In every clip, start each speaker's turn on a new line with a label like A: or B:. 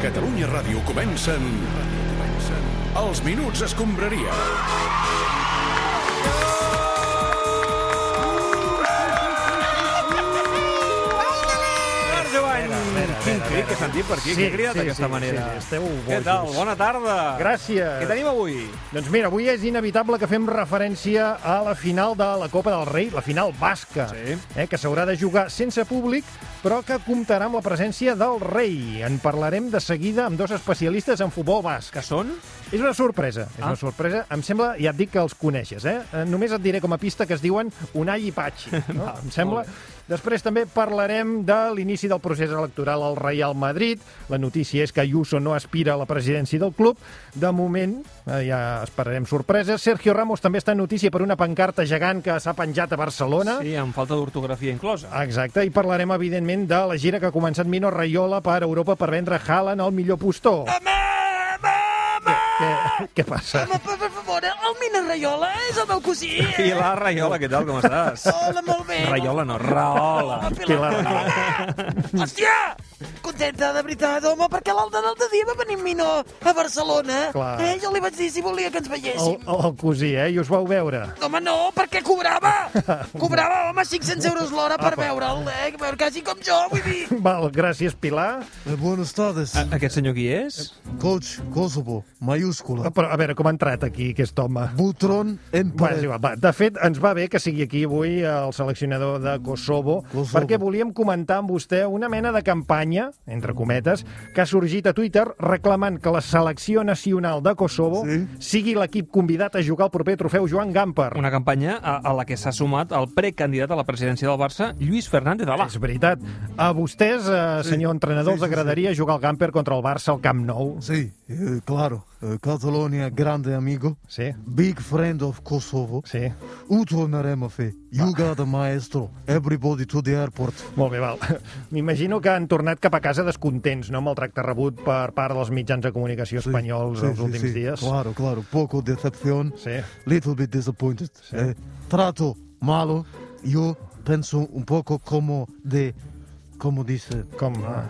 A: Catalunya Ràdio comencen... comencen Els Minuts Escombraria.
B: Quin crit que sentim per aquí,
C: Sí,
B: sí, que cridat
C: sí,
B: d'aquesta
C: sí,
B: manera.
C: sí, esteu
B: Què
C: bojos.
B: tal? Bona tarda.
C: Gràcies.
B: Què tenim avui?
C: Doncs mira, avui és inevitable que fem referència a la final de la Copa del Rei, la final basca,
B: Sí.
C: eh, que s'haurà de jugar sense públic, però que comptarà amb la presència del rei. En parlarem de seguida amb dos especialistes en futbol basc.
B: Que són?
C: És una sorpresa, és
B: Ah.
C: una sorpresa. Em sembla, ja et dic que els coneixes, eh? Eh, Només et diré com a pista que es diuen Unai i Patxi, no?
B: Val,
C: em sembla.
B: molt
C: Després també parlarem de l'inici del procés electoral al Real Madrid. La notícia és que Ayuso no aspira a la presidència del club. De moment, eh, ja esperarem sorpreses. Sergio Ramos també està en notícia per una pancarta gegant que s'ha penjat a Barcelona.
B: Sí, amb falta d'ortografia inclosa.
C: Exacte, i parlarem, evidentment, de la gira que ha començat Mino Raiola per Europa per vendre Haaland al millor postó. Què, què passa?
D: Home, per, per favor, eh? el Mina Rayola és el meu cosí. eh?
B: I la Raiola, què tal? Com estàs?
D: Hola, molt bé.
B: Raiola no, Raola.
D: Home,
C: Pilar.
D: Hòstia! Contenta, de veritat, home, perquè l'altre l'altre dia va venir Minó a Barcelona.
C: Clar.
D: Eh, jo li vaig dir si volia que ens
C: El,
D: veiéssim.
C: el cosí, eh? I us vau veure.
D: Home, no, perquè cobrava. Cobrava, home, 500 euros l'hora per veure'l, eh? Per quasi com jo, vull dir.
C: Val, gràcies, Pilar.
E: Eh, Buenas tardes, Eh,
B: A- Aquest senyor qui és?
E: coach Kosovo, mayúscula.
C: Ah, Però a veure, com ha entrat aquí aquest home?
E: Butrón
C: Bueno, és
E: en paret.
C: igual, va. De fet, ens va bé que sigui aquí avui eh, el seleccionador de Kosovo,
E: Kosovo.
C: perquè volíem comentar amb vostè una mena de campanya, entre cometes, que ha sorgit a Twitter reclamant que la selecció nacional de Kosovo
E: Sí.
C: sigui l'equip convidat a jugar el proper trofeu Joan Gamper.
B: Una campanya a, a la que s'ha sumat el precandidat a la presidència del Barça, Lluís Fernández Alà.
C: És veritat. A vostès, eh, senyor entrenador,
E: Sí,
C: els
E: sí, sí.
C: agradaria jugar al Gamper contra el Barça al Camp Nou?
E: Sí, eh, claro. Eh, Catalonia, grande amigo.
C: Sí.
E: Big friend of Kosovo.
C: Sí.
E: Ho tornarem a fer. You got the maestro. Everybody to the airport.
C: Molt bé, val. M'imagino que han tornat cap a casa descontents, no?, amb el tracte rebut per part dels mitjans de comunicació espanyols els últims
E: sí.
C: dies.
E: Claro, claro. Poco decepción.
C: Sí.
E: Little bit disappointed. Eh, trato malo. Yo penso un poco como de... Como dice...
C: Com... eh,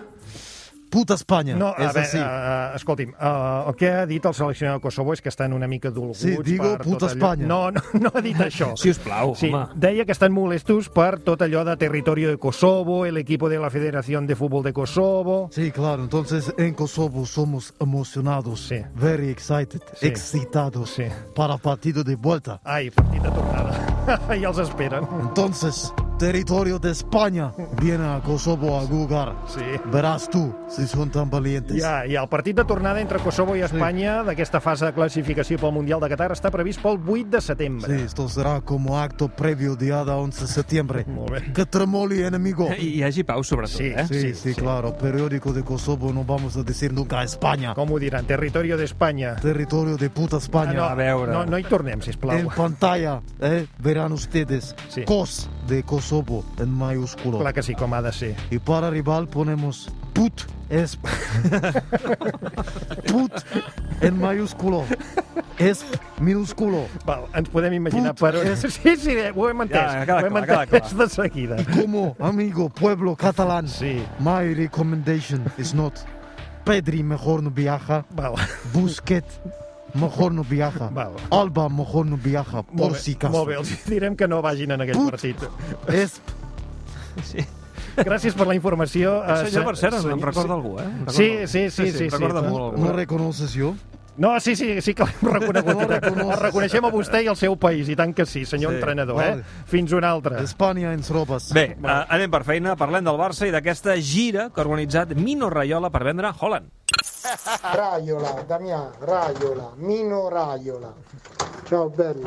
E: Puta España.
C: No, a
E: es
C: veure,
E: así.
C: uh, escolti'm, uh, el que ha dit el seleccionador de Kosovo és que estan una mica dolguts
E: Sí, digo
C: per
E: puta
C: tot allò...
E: Espanya.
C: No, no, no ha dit això.
B: Si us plau,
C: Sí,
B: home.
C: deia que estan molestos per tot allò de territorio de Kosovo, el equipo de la Federación de Fútbol de Kosovo...
E: Sí, claro. Entonces en Kosovo somos emocionados,
C: Sí.
E: very excited,
C: Sí.
E: excitados
C: Sí.
E: para partido de vuelta.
C: Ai, partit de tornada. ja els esperen.
E: Entonces, territorio de España viene a Kosovo a jugar.
C: Sí.
E: Verás tú si son tan valientes.
C: Ja, ja, el partit de tornada entre Kosovo i Espanya d'aquesta fase de classificació pel Mundial de Qatar està previst pel 8 de
E: Sí,
C: setembre.
E: esto será como acto previo día de 11 de septiembre.
C: Molt bé.
E: Que tremoli, enemigo.
B: I hi hagi pau, sobretot,
C: Sí,
B: eh?
E: Sí, sí,
C: sí.
E: claro. Periódico de Kosovo no vamos a decir nunca España.
C: Com ho diran? Territorio d'Espanya.
E: Territorio de puta España.
C: no,
B: a veure.
C: No, no hi tornem, sisplau.
E: En pantalla eh, verán ustedes
C: Sí.
E: COS de Kosovo en mayúsculo.
C: Clar que sí, com ha de ser.
E: Y para rival ponemos PUT ESP. PUT en mayúsculo. ESP minúsculo.
C: Val, ens podem imaginar
E: Puta,
C: per on...
E: eh?
C: Sí, sí, ho hem entès.
B: Ja, ha quedat
C: ho hem
B: clar, ha quedat
C: entès
B: clar.
C: de seguida.
E: Como amigo pueblo catalán,
C: Sí.
E: my recommendation is not Pedri mejor no viaja,
C: Val.
E: Busquet mejor no viaja,
C: Vale.
E: Alba mejor no viaja, por
C: Molt
E: si
C: bé,
E: acaso.
C: molt bé, els direm que no vagin en aquell
E: Put.
C: partit.
E: ESP.
C: Gràcies per la informació.
B: Això
C: eh,
B: ja, per cert,
C: senyor-
B: em recorda algú, eh? Em recorda
C: Sí,
B: algú.
C: sí, sí, sí,
B: em
C: sí,
B: recorda
C: sí.
B: molt algú.
E: No reconoces yo.
C: No, sí, sí, sí que l'hem reconegut.
E: No el reconeixes.
C: el reconeixem a vostè i al seu país, i tant que sí, senyor
B: Sí,
C: entrenador.
E: vale.
C: Eh? Fins un altre.
E: España en robas.
B: Bé, eh, anem per feina, parlem del Barça i d'aquesta gira que ha organitzat Mino Raiola per vendre Holland.
F: Raiola, Damià, Raiola, Mino Raiola. Ciao bello.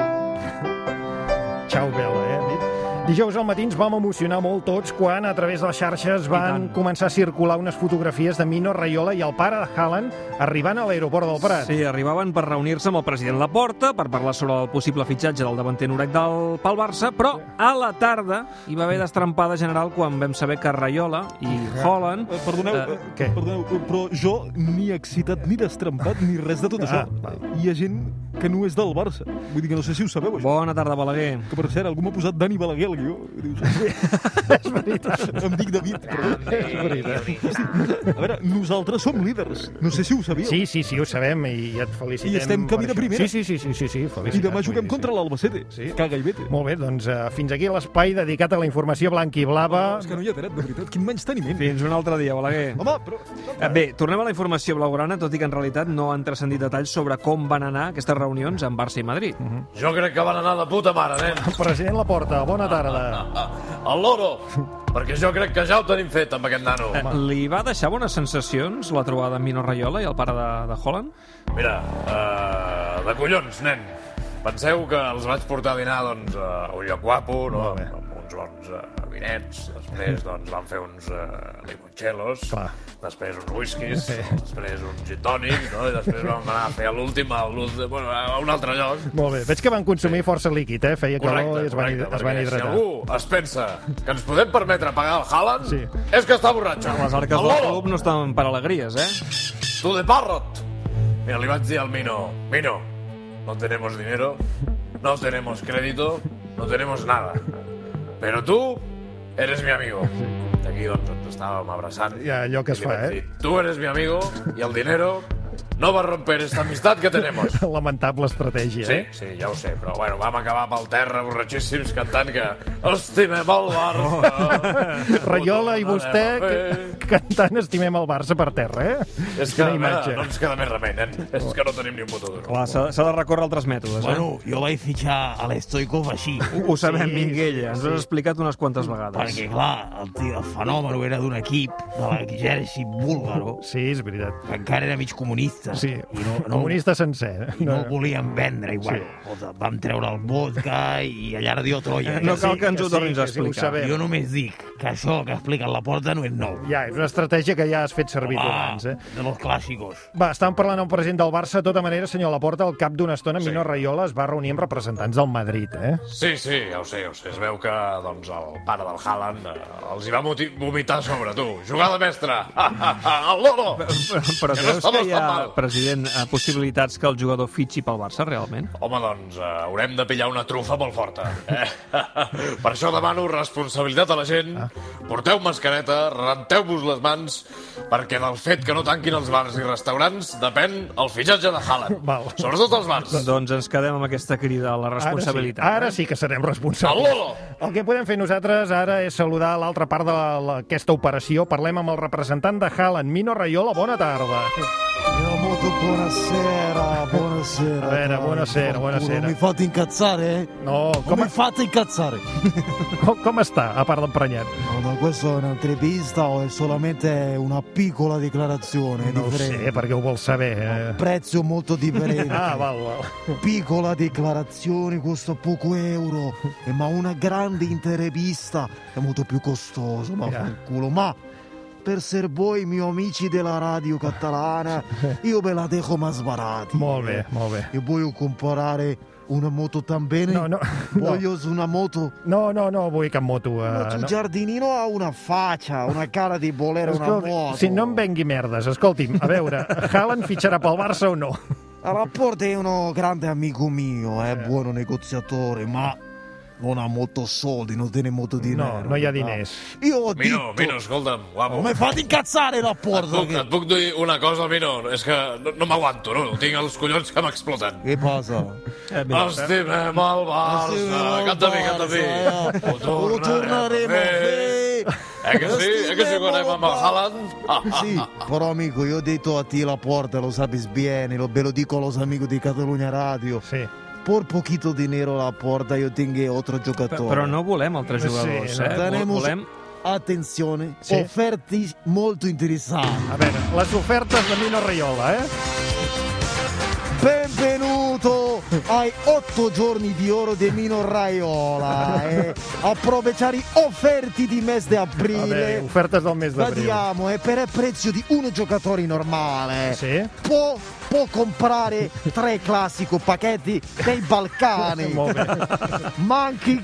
C: Ciao, Bela, eh? Dit. Dijous al matí ens vam emocionar molt tots quan a través de les xarxes van
B: tant.
C: començar a circular unes fotografies de Mino Raiola i el pare de Haaland arribant a l'aeroport del Prat.
B: Sí, arribaven per reunir-se amb el president Laporta per parlar sobre el possible fitxatge del davanter Norec del pel Barça, però a la tarda hi va haver destrampada general quan vam saber que Raiola i
G: Ah.
B: Holland...
H: Eh, Perdoneu,
B: Eh,
H: eh,
C: què?
H: perdoneu, eh, però jo ni excitat, ni destrempat, ni res de tot
C: Ah,
H: això.
C: val.
H: Hi ha gent que no és del Barça. Vull dir que no sé si ho sabeu, això.
B: Bona tarda, Balaguer.
H: Que, per cert, algú m'ha posat Dani Balaguer al guió. I Dius, és veritat. Em dic David, però... És veritat. A veure, nosaltres som líders. No sé si ho sabíeu.
C: Sí, sí, sí, ho sabem i et felicitem.
H: I estem camí de
C: per això.
H: primera.
C: Sí, sí, sí, sí, sí, sí felicitats.
H: I demà
C: vull
H: juguem
C: dir,
H: contra
C: sí.
H: l'Albacete.
C: Sí.
H: Caga i vete.
C: Molt bé, doncs uh, fins aquí l'espai dedicat a la informació blanc i blava.
H: És que no hi ha dret, de veritat. Quin menys teniment.
B: Fins un altre dia, Balaguer.
H: Home, però...
B: Eh, Bé, tornem a la informació blaugrana, tot i que en realitat no han transcendit detalls sobre com van anar aquestes reunions amb Barça i Madrid.
I: Jo crec que van anar de puta mare, nen.
C: President Laporta, bona tarda.
I: Al loro. Perquè jo crec que ja ho tenim fet amb aquest nano.
B: Eh, Li va deixar bones sensacions la trobada amb Mino Raiola i el pare de, de Holland?
I: Mira, uh, de collons, nen. Penseu que els vaig portar a dinar, doncs, a un lloc guapo, no? Amb uns bons uh, vinets, després, doncs, van fer uns uh, limoncellos,
C: Clar.
I: després uns whiskies, després un gin tònic, no? I després vam anar a fer a l'últim, a, l'últim- bueno, a un altre lloc.
C: Molt bé, veig que van consumir força líquid, eh? Feia calor i es van,
I: correcte,
C: es van
I: perquè
C: hidratar.
I: Si algú es pensa que ens podem permetre pagar el Haaland,
C: Sí.
I: és que està borratxo.
B: Les arques
I: Aló,
B: del club no estan per alegries, eh?
I: Tu de parrot. Mira, li vaig dir al Mino, Mino, no tenemos dinero, no tenemos crédito, no tenemos nada. Pero tú eres mi amigo. I aquí, doncs, ens estàvem abraçant.
C: Ja, allò que es
I: I li
C: fa,
I: vaig
C: eh?
I: dir, Tu eres mi amigo i el dinero no va a romper esta amistad que tenemos.
C: Lamentable estratègia. eh?
I: Sí, sí, ja ho sé, però bueno, vam acabar pel terra borratxíssims cantant que estimem el Barça.
B: Oh.
C: Rayola i
I: Ho
C: vostè
I: tornarem a
C: que- cantant Estimem el Barça per terra, eh?
I: fer. És que, doncs,
C: Quina imatge.
I: mira, no ens queda més remei, nen. És que no tenim ni un puto duro.
B: Clar, s'ha s'ha de recórrer a altres mètodes, eh?
J: Bueno, jo vaig fitxar a l'Estoikov així,
B: Ho- ho sabem, sí, Minguella. Ens ho has explicat unes quantes vegades.
J: perquè, clar, el, tio, el fenomen era d'un equip de l'exèrcit búlgaro,
C: Sí, és veritat.
J: que encara era mig comunista,
C: Sí,
J: i no, no,
C: comunista sencer. eh?
J: i no el volien vendre, i bueno, sí. vam treure el vodka i allà ardió Troia.
B: No
J: Que
B: cal
J: sí,
B: que ens ho
C: sí,
B: tornis a
C: que sí, ho
B: explicar.
C: sabem.
J: Jo només dic que això que explica la porta no és nou.
C: Ja, és una estratègia que ja has fet servir tu abans, eh?
J: de los clàssicos.
C: Va, estàvem parlant amb el president del Barça. De tota manera, senyor Laporta, al cap d'una estona, sí. Mino Raiola es va reunir amb representants del Madrid, eh?
I: Sí, sí, ja ho sé, ja ho sé. Es veu que doncs, el pare del Haaland eh, els hi va moti- vomitar sobre tu. Jugada mestra! El loro!
B: Però
I: Que no
B: creus
I: estava
B: que hi ha,
I: tan mal.
B: president, eh, possibilitats que el jugador fitxi pel Barça, realment?
I: Home, doncs, eh, haurem de pillar una trufa molt forta. Eh? per això demano responsabilitat a la gent,
E: Ah.
I: porteu mascareta, renteu-vos les mans, perquè del fet que no tanquin els bars i restaurants depèn el fitxatge de Haaland.
C: Val.
I: Sobretot els bars.
B: Doncs ens quedem amb aquesta crida a la responsabilitat. eh?
C: Ara sí, ara sí que serem responsables.
I: Al Lolo!
C: El que podem fer nosaltres ara és saludar l'altra part d'aquesta operació. Parlem amb el representant de Haaland, Mino Raiola. Bona tarda.
E: Io molto buonasera, buonasera.
C: Bene,
E: dai,
C: buonasera,
E: fanculo.
C: buonasera.
E: Mi fate incazzare, eh?
C: No,
E: Non
C: com,
E: mi fate incazzare.
C: com, com està, a part d'emprenyat?
E: No, ma questo è un'intervista o è solamente una piccola dichiarazione
C: No ho
E: differente?
C: sé, perquè ho vol saber. Eh?
E: Prezzo molto differente.
C: Ah, val, val.
E: Piccola dichiarazione costa poco euro, eh, ma una grande intervista è molto più costoso, ma
C: Yeah.
E: culo. Ma per ser voi, miei amici della radio catalana, io ve la dejo ma sbarati.
C: Molt bé, molt bé.
E: E voglio comprare una moto tan bene?
C: No, no,
E: Voglio una moto.
C: No, no, no vull cap moto.
E: Ma tu
C: Eh, no.
E: giardinino ha una faccia, una cara di volere una
C: Escolti,
E: moto.
C: si no em vengui merdes, escolti'm, a veure, Haaland fitxarà pel Barça o no?
E: A rapporto è uno grande amico mio,
C: Eh.
E: è buono negoziatore, ma non ha molto soldi, non tiene molto dinero.
C: No, no hi ha diners.
E: Ah, Io ho
I: Mino,
E: detto...
I: Mino, escolta'm, guapo.
E: Come fate incazzare la
I: Et
E: porta?
I: puc, et puc dir una cosa, Mino? És que no, no m'aguanto, no? Tinc els collons que m'exploten.
E: Che cosa?
I: Eh,
E: eh?
I: Estimem el Barça. Canta bé, canta bé. Ho
E: eh. Lo torneremo a
I: fer.
E: fare.
I: Eh que sí? Eh que sí
E: Estimem
I: que anem amb el
E: el
I: Haaland? Ah, ah,
E: Sì, però amico, io ho detto a te la porta, lo sapes bene, lo, ve lo dico allo amico di Catalogna Radio.
C: Sí.
E: Por poquito dinero la porta, io tengo otro giocatore.
B: Però però no volem altres
C: Sí,
B: jugadors,
C: no.
B: eh? Vol-
E: Tenemos-
B: Volem...
E: Attenzione,
C: Sì.
E: offerte molto interessanti.
C: A veure, les ofertes de Mino Raiola, eh?
E: Benvenuto ai 8 giorni di oro di Mino Raiola. Eh. Approvettare i offerti di mese di
C: Vabbè,
E: aprile.
C: ofertes del mes d'abril.
E: Vediamo, è per il prezzo di uno giocatore normale.
C: Sì.
E: Può, può comprare tre classico pacchetti dei Balcani.
C: Molt bé.
E: Manchi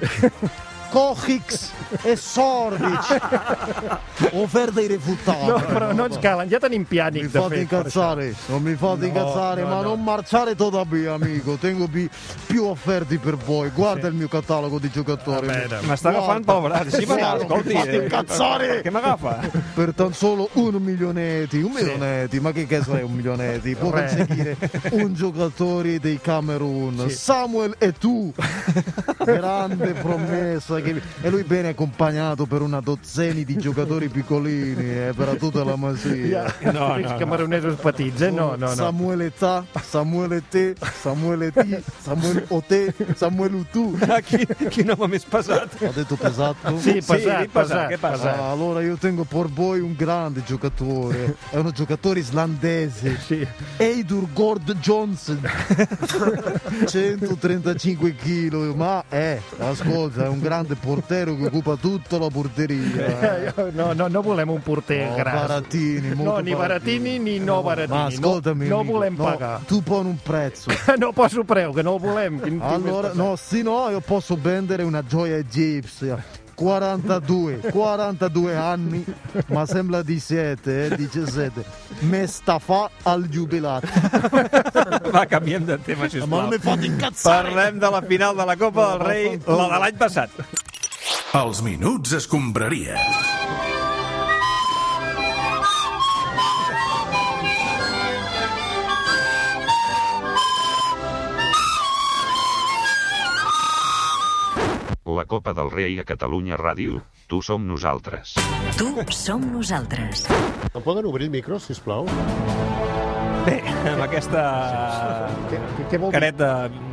E: Cògics e Sordic. Oferta irrefutabile.
C: No, però no ens calen, ja tenim piànic,
E: Mi
C: de
E: fate
C: fet. per això.
E: incazzare, non mi fate incazzare, ma non marciare todavia, amico. Tengo pi- più offerte per voi. Guarda il mio catalogo di giocatori.
C: bene.
B: M'està agafant pel braç. Així m'agrada,
E: Guarda,
B: escolti. eh?
E: mi fate incazzare.
B: Què m'agafa?
E: per tan solo un milionetti, un milionetti, ma che cazzo è un milionetti? Può
C: Vabbè.
E: conseguire un giocatore dei Camerun, Samuel e tu, grande promessa, che- e lui bene accompagnato per una dozzina di giocatori piccolini eh, per tutta la masia.
C: No, no, camaronesos petits, eh? No, no, no.
E: Samuele Ta, Samuele Te, Samuele Ti, Samuele Ote, Samuele Utu.
B: Ah, quin, quin home més pesat.
E: Ho detto pesato?
C: Sí, pesat,
B: dic pesat,
C: pesat,
B: què passa?
C: pesat.
E: Ah, allora io tengo per voi un grande giocatore, è uno giocatore islandese,
C: Sì.
E: Eidur Gord Johnson, 135 kg, ma è, ascolta, è un grande portero che occupa tutta la porteria. eh.
C: No, no, no volem un porter
E: Oh,
C: gras.
E: Baratini, molto
C: no, ni Baratini ni no Baratini.
E: Ma ascoltami,
C: no, no
E: amico,
C: volem
E: no,
C: pagar.
E: Tu poni un prezzo.
C: No poso preu, que no el volem. Quin, quin
E: Allora,
C: més
E: no, sì, no, io posso vendere una gioia egizia. 42, 42 anni, ma sembra 17, eh, 17. Me sta fa al jubilato.
B: Va, canviem de tema,
E: Ma non
B: sisplau.
E: mi fate incazzare!
B: Parlem de la final de la Copa del Rei, la de l'any passat.
A: Els minuts es compraria.
K: La Copa del Rei a Catalunya Ràdio. Tu som nosaltres.
L: Tu som nosaltres.
M: Em poden obrir el micro, si us plau?
B: Bé, amb aquesta
C: Què, què vol dir?
B: careta...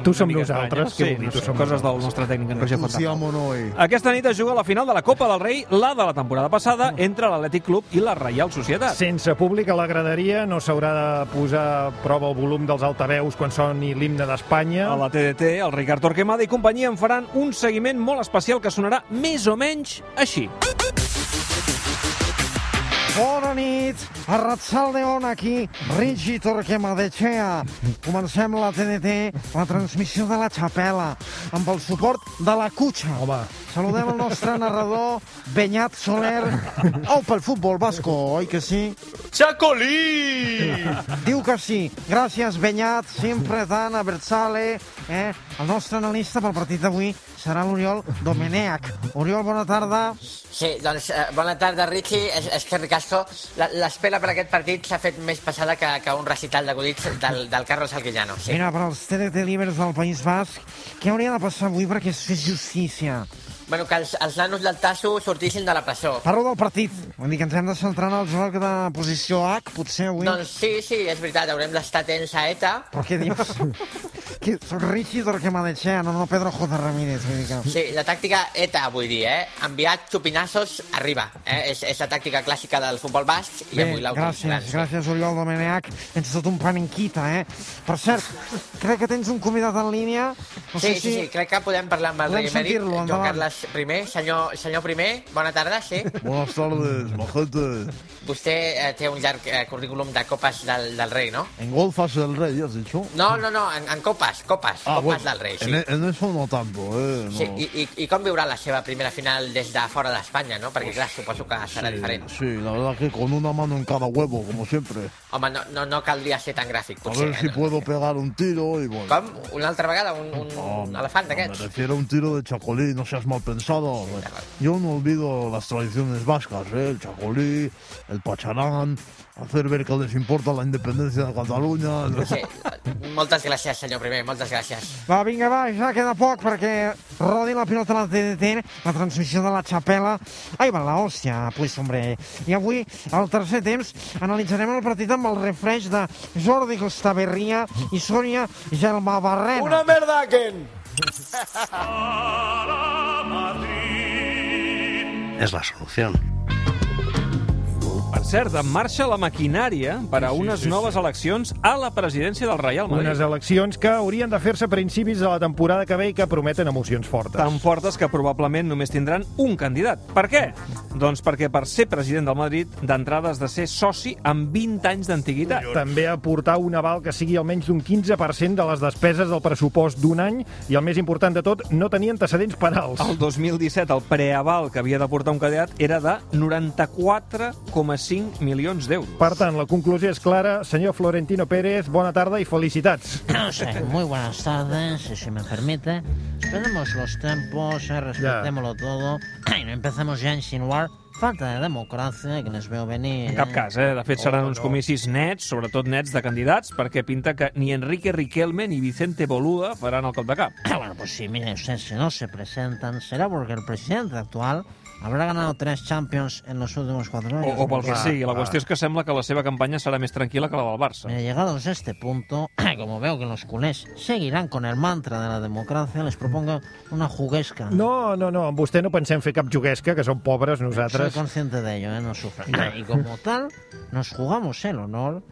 C: Tu som
B: una mica estranya.
C: nosaltres? Què
B: Sí,
C: vol dir,
B: no
C: tu
B: sé,
C: som
B: coses del nostre tècnic, en Roger Fontanet.
E: Siamo noi.
B: Aquesta nit es juga la final de la Copa del Rei, la de la temporada passada, entre l'Atlètic Club i la Reial Societat.
C: Sense públic a la graderia no s'haurà de posar a prova el volum dels altaveus quan soni l'himne d'Espanya.
B: A la TDT, el Ricard Torquemada i companyia en faran un seguiment molt especial que sonarà més o menys així.
E: Bona nit, Arratzal de On aquí, Rigi Torquemadechea. Comencem la TDT, la transmissió de la xapela, amb el suport de la Cutxa.
C: Home.
E: Saludem el nostre narrador, Benyat Soler. Au pel futbol basco, oi que sí?
I: Xacolí!
E: Diu que sí. Gràcies, Benyat, sempre tan aversale. Eh? El nostre analista pel partit d'avui serà l'Oriol Domenech. Oriol, bona tarda.
D: Sí, doncs eh, bona tarda, Ricky. És, és que, Ricasco, la- l'espera per aquest partit s'ha fet més passada que, que un recital d'acudits del, del Carlos Alquillano. Sí.
E: Mira, per als TDT Libres del País Basc, què hauria de passar avui perquè es fes justícia?
D: Bueno, que els, els nanos del Tasso sortissin de la presó.
E: Parlo del partit. Vull dir que ens hem de centrar en el joc de posició H, potser avui.
D: Doncs sí, sí, és veritat, haurem d'estar atents a ETA.
E: Però què dius? que soc Richie Torquemadechea, no, no Pedro J. Ramírez. Vull dir que...
D: Sí, la tàctica ETA, vull dir, eh? Enviar xupinassos arriba. Eh? És, és la tàctica clàssica del futbol basc i avui Doncs, l'ha utilitzat,
E: gràcies,
D: sí.
E: gràcies, Oriol Domenech. Ets tot un panenquita, eh? Per cert, crec que tens un convidat en línia. No
D: Sí, sí, sí, crec que podem parlar amb el
E: Volem
D: rei emèrit,
E: sentir-lo,
D: Joan
E: endavant.
D: Carles I. Senyor, senyor primer, bona tarda, sí.
E: Buenas tardes, majete.
D: Vostè eh, té un llarg eh, currículum de copes del, del rei, no?
E: En golfas del rey, has dicho?
D: No, no, no, en, en copes, copes,
E: Ah,
D: copes del rei, sí.
E: eso no tanto, eh?
D: Sí, i, i, I com viurà la seva primera final des de fora d'Espanya, no? Perquè, clar, suposo que serà diferent.
E: Sí, la verdad que con una mano en cada huevo, como siempre.
D: Home, no, no, no caldria ser tan gràfic,
E: A
D: potser.
E: ver si
D: eh, no?
E: puedo pegar un tiro y bueno.
D: Com? Una altra vegada? Un, un, un elefant
E: Me
D: d'aquests?
E: refiero a un tiro de chacolí, no seas mal pensado. Yo no olvido las tradiciones vascas, ¿eh? el chacolí, el pacharán, hacer ver que les importa la independencia de Cataluña.
D: Sí, moltes gràcies, senyor primer, moltes gràcies.
E: Va, vinga, va, ja queda poc perquè rodi la pilota a la TDT, la transmissió de la xapela. Ai, va, la hòstia, pues, hombre. I avui, al tercer temps, analitzarem el partit amb el refreix de Jordi Costaberria i Sònia Gelmabarrena. Una
B: Per cert, en marxa la maquinària per a
C: Sí, sí,
B: unes
C: sí,
B: noves eleccions a la presidència del Reial Madrid.
C: Unes eleccions que haurien de fer-se a principis de la temporada que ve i que prometen emocions fortes.
B: tan fortes que probablement només tindran un candidat. Per què? Doncs perquè per ser president del Madrid, d'entrada has de ser soci amb 20 anys d'antiguitat.
C: També aportar un aval que sigui almenys d'un 15% de les despeses del pressupost d'un any i, el més important de tot, no tenir antecedents penals.
B: El 2017 el preaval que havia de portar un candidat era de 94,5 milions d'euros.
C: Per tant, la conclusió és clara. Senyor Florentino Pérez, bona tarda i felicitats.
N: No sé, muy buenas tardes, si se me permite. Esperemos los tiempos, eh, respetémoslo todo. Y no empecemos ya a insinuar falta de democracia que les veo venir.
B: En cap cas, eh? De fet, seran uns comicis nets, sobretot nets de candidats, perquè pinta que ni Enrique Riquelme ni Vicente Boluda faran el cop de cap.
N: Ah, bueno, pues sí, mire usted, si no se presentan será porque el presidente actual habrá ganado tres Champions en los últimos cuatro años.
B: O, o pel que
N: Mira,
B: sigui. La qüestió és que sembla que la seva campanya serà més tranquil·la que la del Barça.
N: Mira, llegados a este punto, como veo que los culés seguirán con el mantra de la democracia, les propongo una juguesca.
C: No, no, no, amb vostè no pensem fer cap juguesca, que som pobres nosaltres.
N: Soy consciente de ello, ¿eh? no sufre. Y como tal, nos jugamos el honor,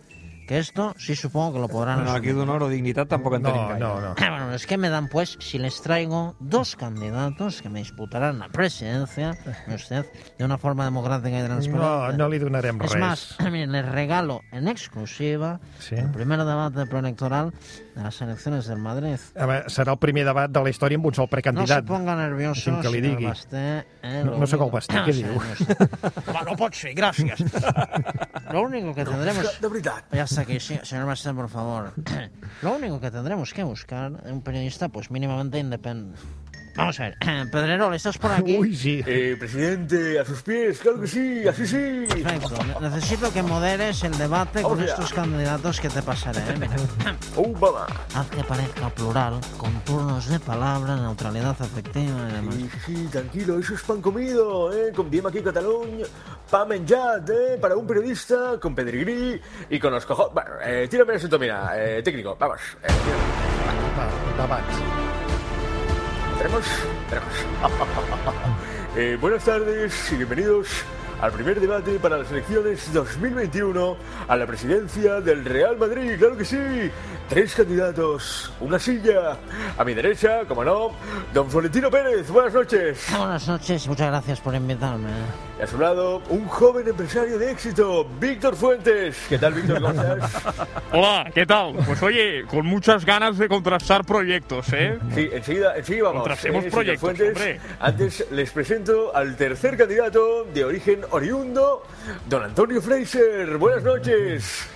N: que esto sí supongo que lo podrán...
B: No, aquí
N: asumir.
B: d'honor o dignitat tampoc en tenim gaire.
N: Ah, Bueno, los que me dan pues, si les traigo dos candidatos que me disputarán la presidencia, de usted, de una forma democrática y
C: No,
N: transparente.
C: no li donarem
N: es
C: res.
N: más, miren, les regalo en exclusiva
C: Sí.
N: el primer debate preelectoral de las elecciones del Madrid.
C: A veure, serà el primer debat de la història amb un sol
N: No se
C: precandidat.
N: ponga nervioso,
C: Deixi'm que li
N: señor
C: digui.
N: Basté, eh,
C: No-
N: lo
C: no sé
N: único-
C: com Basté, què
N: sé,
C: diu?
N: no sé. Home, no pot ser, gràcies. Lo único que tendremos... De veritat. Ya está aquí, sí, señor Basté, por favor. Lo único que tendremos que buscar es un periodista pues mínimamente independiente. Vamos a ver, Pedrerol, ¿estás por aquí? Uy,
C: sí.
O: Eh, presidente, a sus pies, claro que sí, así sí.
N: Perfecto. Necesito que moderes el debate
O: Vamos
N: con
O: allá.
N: estos candidatos que te pasaré. ¿eh? Mira. Haz que parezca plural, con turnos de palabra, neutralidad afectiva y demás.
O: Sí, sí, sí, tranquilo, eso es pan comido, ¿eh? Con Diem aquí Catalón, pan menjat, ¿eh? Para un periodista, con pedigrí y con los cojones. Bueno, eh, tírame el asunto, mira, eh, técnico, vamos. Eh, Tenemos, tenemos. Eh, buenas tardes y bienvenidos al primer debate para las elecciones 2021 a la presidencia del Real Madrid, claro que sí. Tres candidatos, una silla. A mi derecha, como no, don Florentino Pérez, buenas noches.
N: Buenas noches, muchas gracias por invitarme.
O: Y a su lado, un joven empresario de éxito, Víctor Fuentes. ¿Qué tal, Víctor? ¿Cómo estás?
P: Hola, ¿qué tal? Pues oye, con muchas ganas de contrastar proyectos, ¿eh?
O: Sí, enseguida, enseguida vamos. eh,
P: Contrastemos
O: señor
P: proyectos,
O: Fuentes.
P: hombre.
O: Antes les presento al tercer candidato de origen oriundo, don Antonio Fraser. Buenas noches.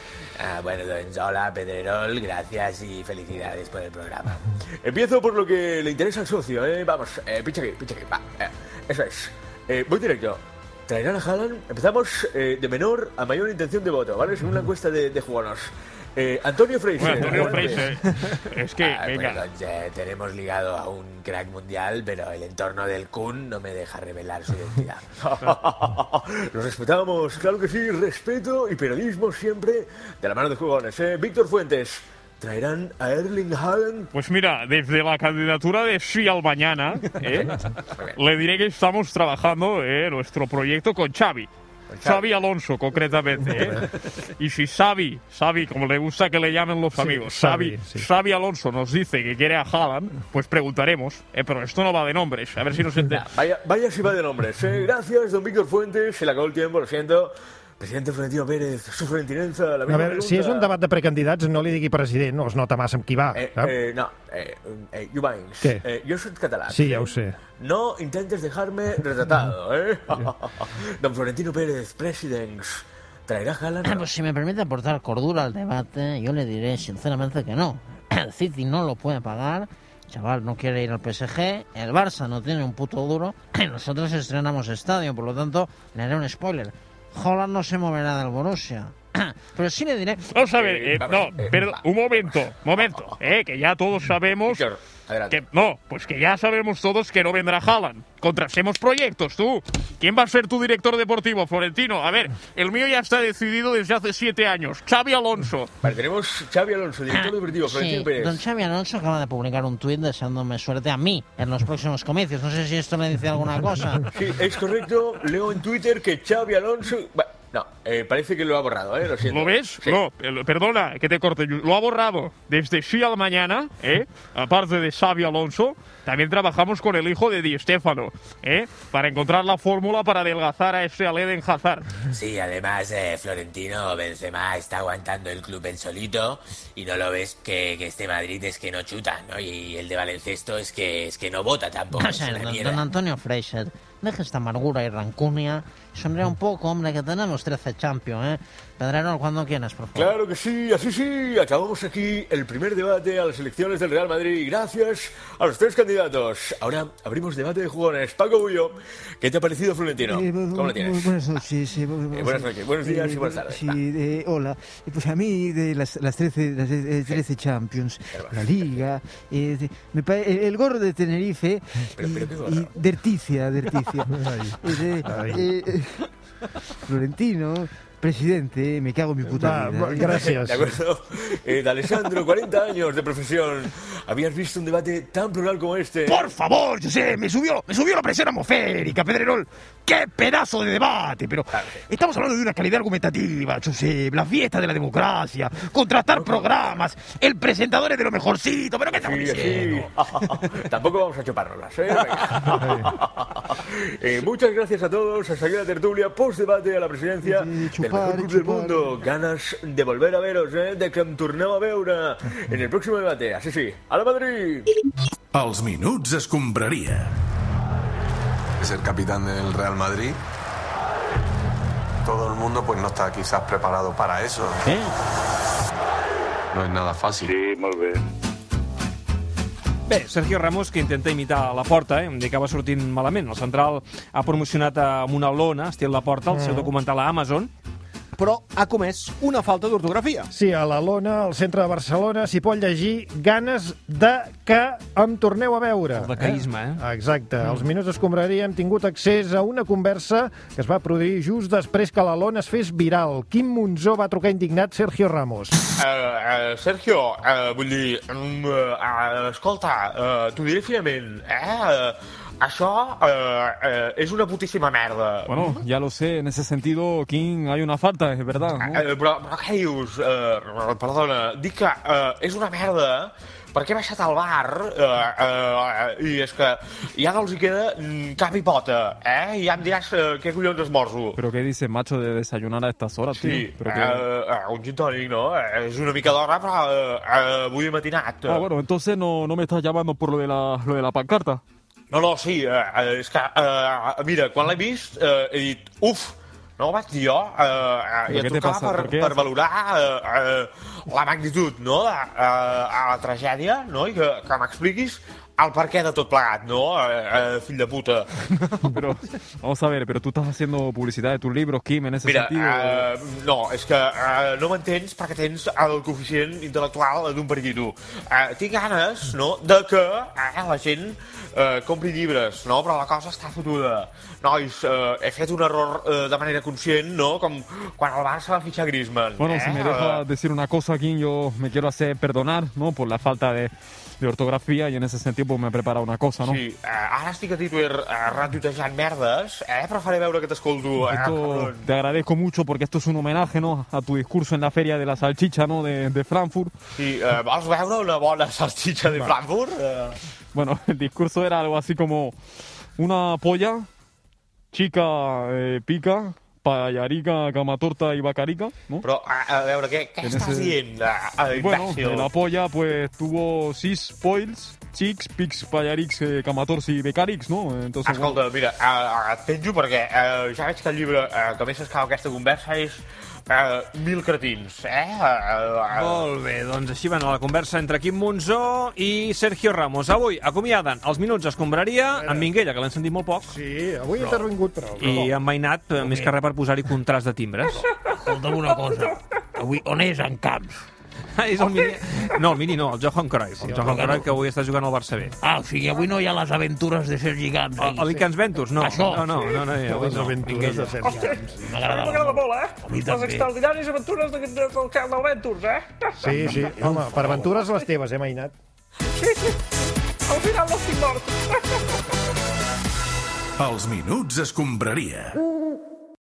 O: Ah, bueno, don Hola, Pedrerol, gracias y felicidades por el programa. Empiezo por lo que le interesa al socio, ¿eh? Vamos, eh, pincha aquí, pincha aquí, va. eh, eso es. Eh, voy directo. Traerán a Haaland. Empezamos eh, de menor a mayor intención de voto, ¿vale? Según la encuesta de, de jugadores. Eh, Antonio Fraser.
P: Bueno, Antonio
O: adelante.
P: Fraser. Es eh? que,
O: Ah,
P: venga.
O: bueno,
Q: eh,
O: ya tenemos ligado a un crack mundial, pero el entorno del Kun no me deja revelar su identidad. Lo respetamos, claro que sí, respeto y periodismo siempre de la mano de jugones. ¿eh? Víctor Fuentes, ¿traerán a Erling Haaland?
P: Pues mira, desde la candidatura de Sí al Mañana, ¿eh? le diré que estamos trabajando ¿eh? nuestro proyecto con Xavi. Xavi Alonso, concretamente. ¿eh? Y si Xavi, Xavi, como le gusta que le llamen los
C: Sí,
P: amigos,
C: Xavi,
P: Xavi,
C: sí.
P: Xavi Alonso nos dice que quiere a Haaland, pues preguntaremos. ¿eh? Pero esto no va de nombres, a ver si nos entendemos.
O: Vaya, vaya si va de nombres. ¿eh? Gracias, don Víctor Fuentes, se le acabó el tiempo, lo siento. Presidente Florentino Pérez, su florentinenza, la
C: A
O: misma
C: veure, si és
O: pregunta.
C: un Ah, debat de precandidats, no li digui president, no es nota massa amb qui va.
O: Eh,
C: sap?
O: eh, no, eh, eh, Jubanks,
C: Què?
O: eh, yo soy catalán.
C: Sí, ja ho sé.
O: No intentes dejarme retratado, ¿eh? Don Florentino Pérez, presidents. ¿Traerá Haaland?
N: Pues si me permite aportar cordura al debate, yo le diré sinceramente que no. El City no lo puede pagar, el chaval no quiere ir al PSG, el Barça no tiene un puto duro, y nosotros estrenamos estadio, por lo tanto, le haré un spoiler. Holland no se moverá del Borussia. Pero sí le diré...
P: Vamos a ver, eh, no, pero un momento, momento, eh, que ya todos sabemos que no, pues que ya sabemos todos que no vendrá Haaland. Contrastemos proyectos, tú. ¿Quién va a ser tu director deportivo, Florentino? A ver, el mío ya está decidido desde hace siete años. Xavi Alonso.
O: Vale, tenemos Xavi Alonso, director deportivo, Florentino
N: Sí,
O: Pérez.
N: don Xavi Alonso acaba de publicar un tuit deseándome suerte a mí en los próximos comicios. No sé si esto le dice alguna cosa.
O: Sí, es correcto. Leo en Twitter que Xavi Alonso... Va,
Q: No, eh, parece que lo ha borrado, ¿eh? Lo siento.
P: ¿Lo ves?
Q: Sí.
P: No, el- perdona que te corte. Lluís. Lo ha borrado. Desde sí al mañana, ¿eh?
Q: Ah.
P: aparte de Xavi Alonso, también trabajamos con el hijo de Di Stéfano, ¿eh? para encontrar la fórmula para adelgazar a ese al Eden Hazard.
Q: Sí, además eh, Florentino Benzema está aguantando el club en solito y no lo ves que, que este Madrid es que no chuta, ¿no? Y el de Baloncesto es que es que no vota tampoco.
N: A
Q: es una
N: ver, don,
Q: mierda.
N: don Antonio Fraser, deja esta amargura y rancunia. Sonría un poco, hombre, que tenemos 13 Champions, ¿eh? Pedrerol, cuando quieras, por favor.
Q: Claro que sí, así sí. Acabamos aquí el primer debate a las elecciones del Real Madrid. Gracias a los tres candidatos. Ahora abrimos debate de jugones. Paco Bullo, ¿qué te ha parecido Florentino?
R: Eh, bu- bu-
Q: ¿Cómo lo
R: bu-
Q: tienes?
R: Buenas noches. eh, bu- bu-
Q: buenas noches, buenos días y buenas tardes.
R: sí, eh, hola. Eh, Pues a mí, de las, las 13, las, eh, 13 Champions, la Liga, eh, de- me pa- eh, el gorro de Tenerife
Q: Pero-
R: y,
Q: pero qué gorro.
R: y Derticia, Derticia. Eh, de- eh, eh, Florentino,
E: eh,
R: presidente, me cago en mi
P: Ah,
R: puta vida.
Q: De acuerdo. Eh, de Alessandro, 40 años de profesión. ¿Habías visto un debate tan plural como este?
E: Por favor, José, me subió, me subió la presión atmosférica, Pedrerol. ¡Qué pedazo de debate! Pero
B: Ah,
E: estamos hablando de una calidad argumentativa, José, la fiesta de la democracia, contratar programas, el presentador es de lo mejorcito, pero ¿qué estamos
Q: Sí,
E: diciendo?
Q: sí. Tampoco vamos a chuparnos, ¿eh? Venga. Eh, muchas gracias a todos. Hasta aquí la tertulia post-debate a la presidencia
R: chupar,
Q: del mejor club del
R: chupar.
Q: mundo. Ganas de volver a veros, ¿eh? De que em torneu a veure en el próximo debate. Así sí, a la Madrid!
I: Els minuts escombraria.
O: es el capitán del Real Madrid. Todo el mundo pues no está quizás preparado para eso.
Q: ¿Eh?
O: No es nada fácil. Sí, muy bien.
B: Bé, Sergio Ramos, que intenta imitar la porta, eh? em dic que va sortint malament. El central ha promocionat eh, amb una lona, estil la porta, el seu
C: Mm.
B: documental a Amazon, però ha comès una falta d'ortografia.
C: Sí, a la Lona, al centre de Barcelona, s'hi pot llegir ganes de que em torneu a veure.
B: El decaisme, eh?
C: Exacte.
B: Mm.
C: Als minuts escombraria hem tingut accés a una conversa que es va produir just després que la Lona es fes viral. Quim Monzó va trucar indignat Sergio Ramos.
Q: eh, Sergio, eh, vull dir, mm, eh, escolta, eh, t'ho diré finament, eh? eh, Això eh, eh, és una putíssima merda.
G: Bueno, ya lo sé, en ese sentido, King, hay una falta, es verdad. ¿no?
Q: Eh, però, però què dius? Eh, perdona, dic que eh, és una merda perquè he baixat al bar eh, eh, i és que ja no els hi queda mm, cap i pota, eh? I ja em diràs eh, què collons esmorzo.
G: Pero qué dice macho de desayunar a estas horas,
Q: Sí,
G: tío.
Q: eh,
G: Pero que-
Q: eh, un gin tònic, no? Eh, és una mica d'hora, però eh, eh, avui he matinat.
G: Ah, bueno, entonces no, no me estás llamando por lo de la, lo de la pancarta.
Q: No, no, sí, eh, eh, és que, eh, mira, quan l'he vist eh, he dit, uf, no ho vaig dir jo, eh, eh, i
G: Però
Q: et
G: què te passa?
Q: trucava per,
G: Per què?
Q: per valorar eh, eh, la magnitud, no?, de, eh, a la tragèdia, no?, i que, que m'expliquis el per què de tot plegat, no?, eh, eh, fill de puta.
G: Vamos a ver, pero tú estás haciendo publicidad de tus libros, Kim, en ese
Q: Mira,
G: sentido.
Q: eh, no, és que eh, no m'entens perquè tens el coeficient intel·lectual d'un periquito. Eh, tinc ganes, no?, de que eh, la gent eh, compri llibres, no?, però la cosa està fotuda. Nois, eh, he fet un error eh, de manera conscient, no?, com quan el Barça va fitxar Griezmann.
G: Bueno,
Q: eh?
G: si me deja decir una cosa, Kim, yo me quiero hacer perdonar, ¿no? Por la falta de, de ortografía y en ese sentido pues, me he preparado una cosa, ¿no?
Q: Sí, eh, ara estic a Twitter eh, retuitejant merdes, eh, però faré veure que t'escolto. Eh,
G: Esto
Q: cabrón.
G: te agradezco mucho porque esto es un homenaje, ¿no? A tu discurso en la feria de la salchicha, ¿no? De, de Frankfurt.
Q: Sí, eh, vols veure una bona salsitxa de Frankfurt? Eh...
G: Bueno, el discurso era algo así como una polla, chica eh, pica, payarica, camatorta y bacarica, ¿no?
Q: Però, a, a veure, què, què
G: En
Q: estàs
G: ese-
Q: dient, eh, eh,
G: Bueno,
Q: imbècil?
G: de la polla pues tuvo sis poils, chicks, pics, payarix, eh, camators y becarix, ¿no? Entonces, bueno,
Q: Escolta, mira, eh, et penjo perquè eh, ja veig que el llibre eh, que més s'escau aquesta conversa és eh, Mil cretins, eh?
C: Ah,
Q: eh,
B: Molt bé, doncs així va anar la conversa entre Quim Monzó i Sergio Ramos. Avui acomiaden els minuts escombraria amb Minguella, que l'hem sentit molt poc.
C: Sí, avui
B: Però-
C: ha intervingut prou. però
B: I en Mainat, eh, més que res per posar-hi contrast de timbres.
E: Escolta'm una cosa, avui on és en Camps?
B: Ah, és el mini... No, el mini no, el Johan Cruyff. El Johan
E: no.
B: Cruyff que avui està jugant al Barça B.
E: Ah, o sigui, avui no hi ha les aventures de Sergi Camps.
B: El, el Icans Ventures, no.
E: Això.
B: No, no, no, no, no, avui no. Minguella.
J: M'agrada molt, eh?
E: mi
J: Les
E: també.
J: extraordinàries aventures de, de, del Camp del Ventures, eh?
C: Sí, sí. Home, per aventures les teves, eh, Mainat?
J: Sí, sí. Al final no estic mort.
I: Els minuts escombraria.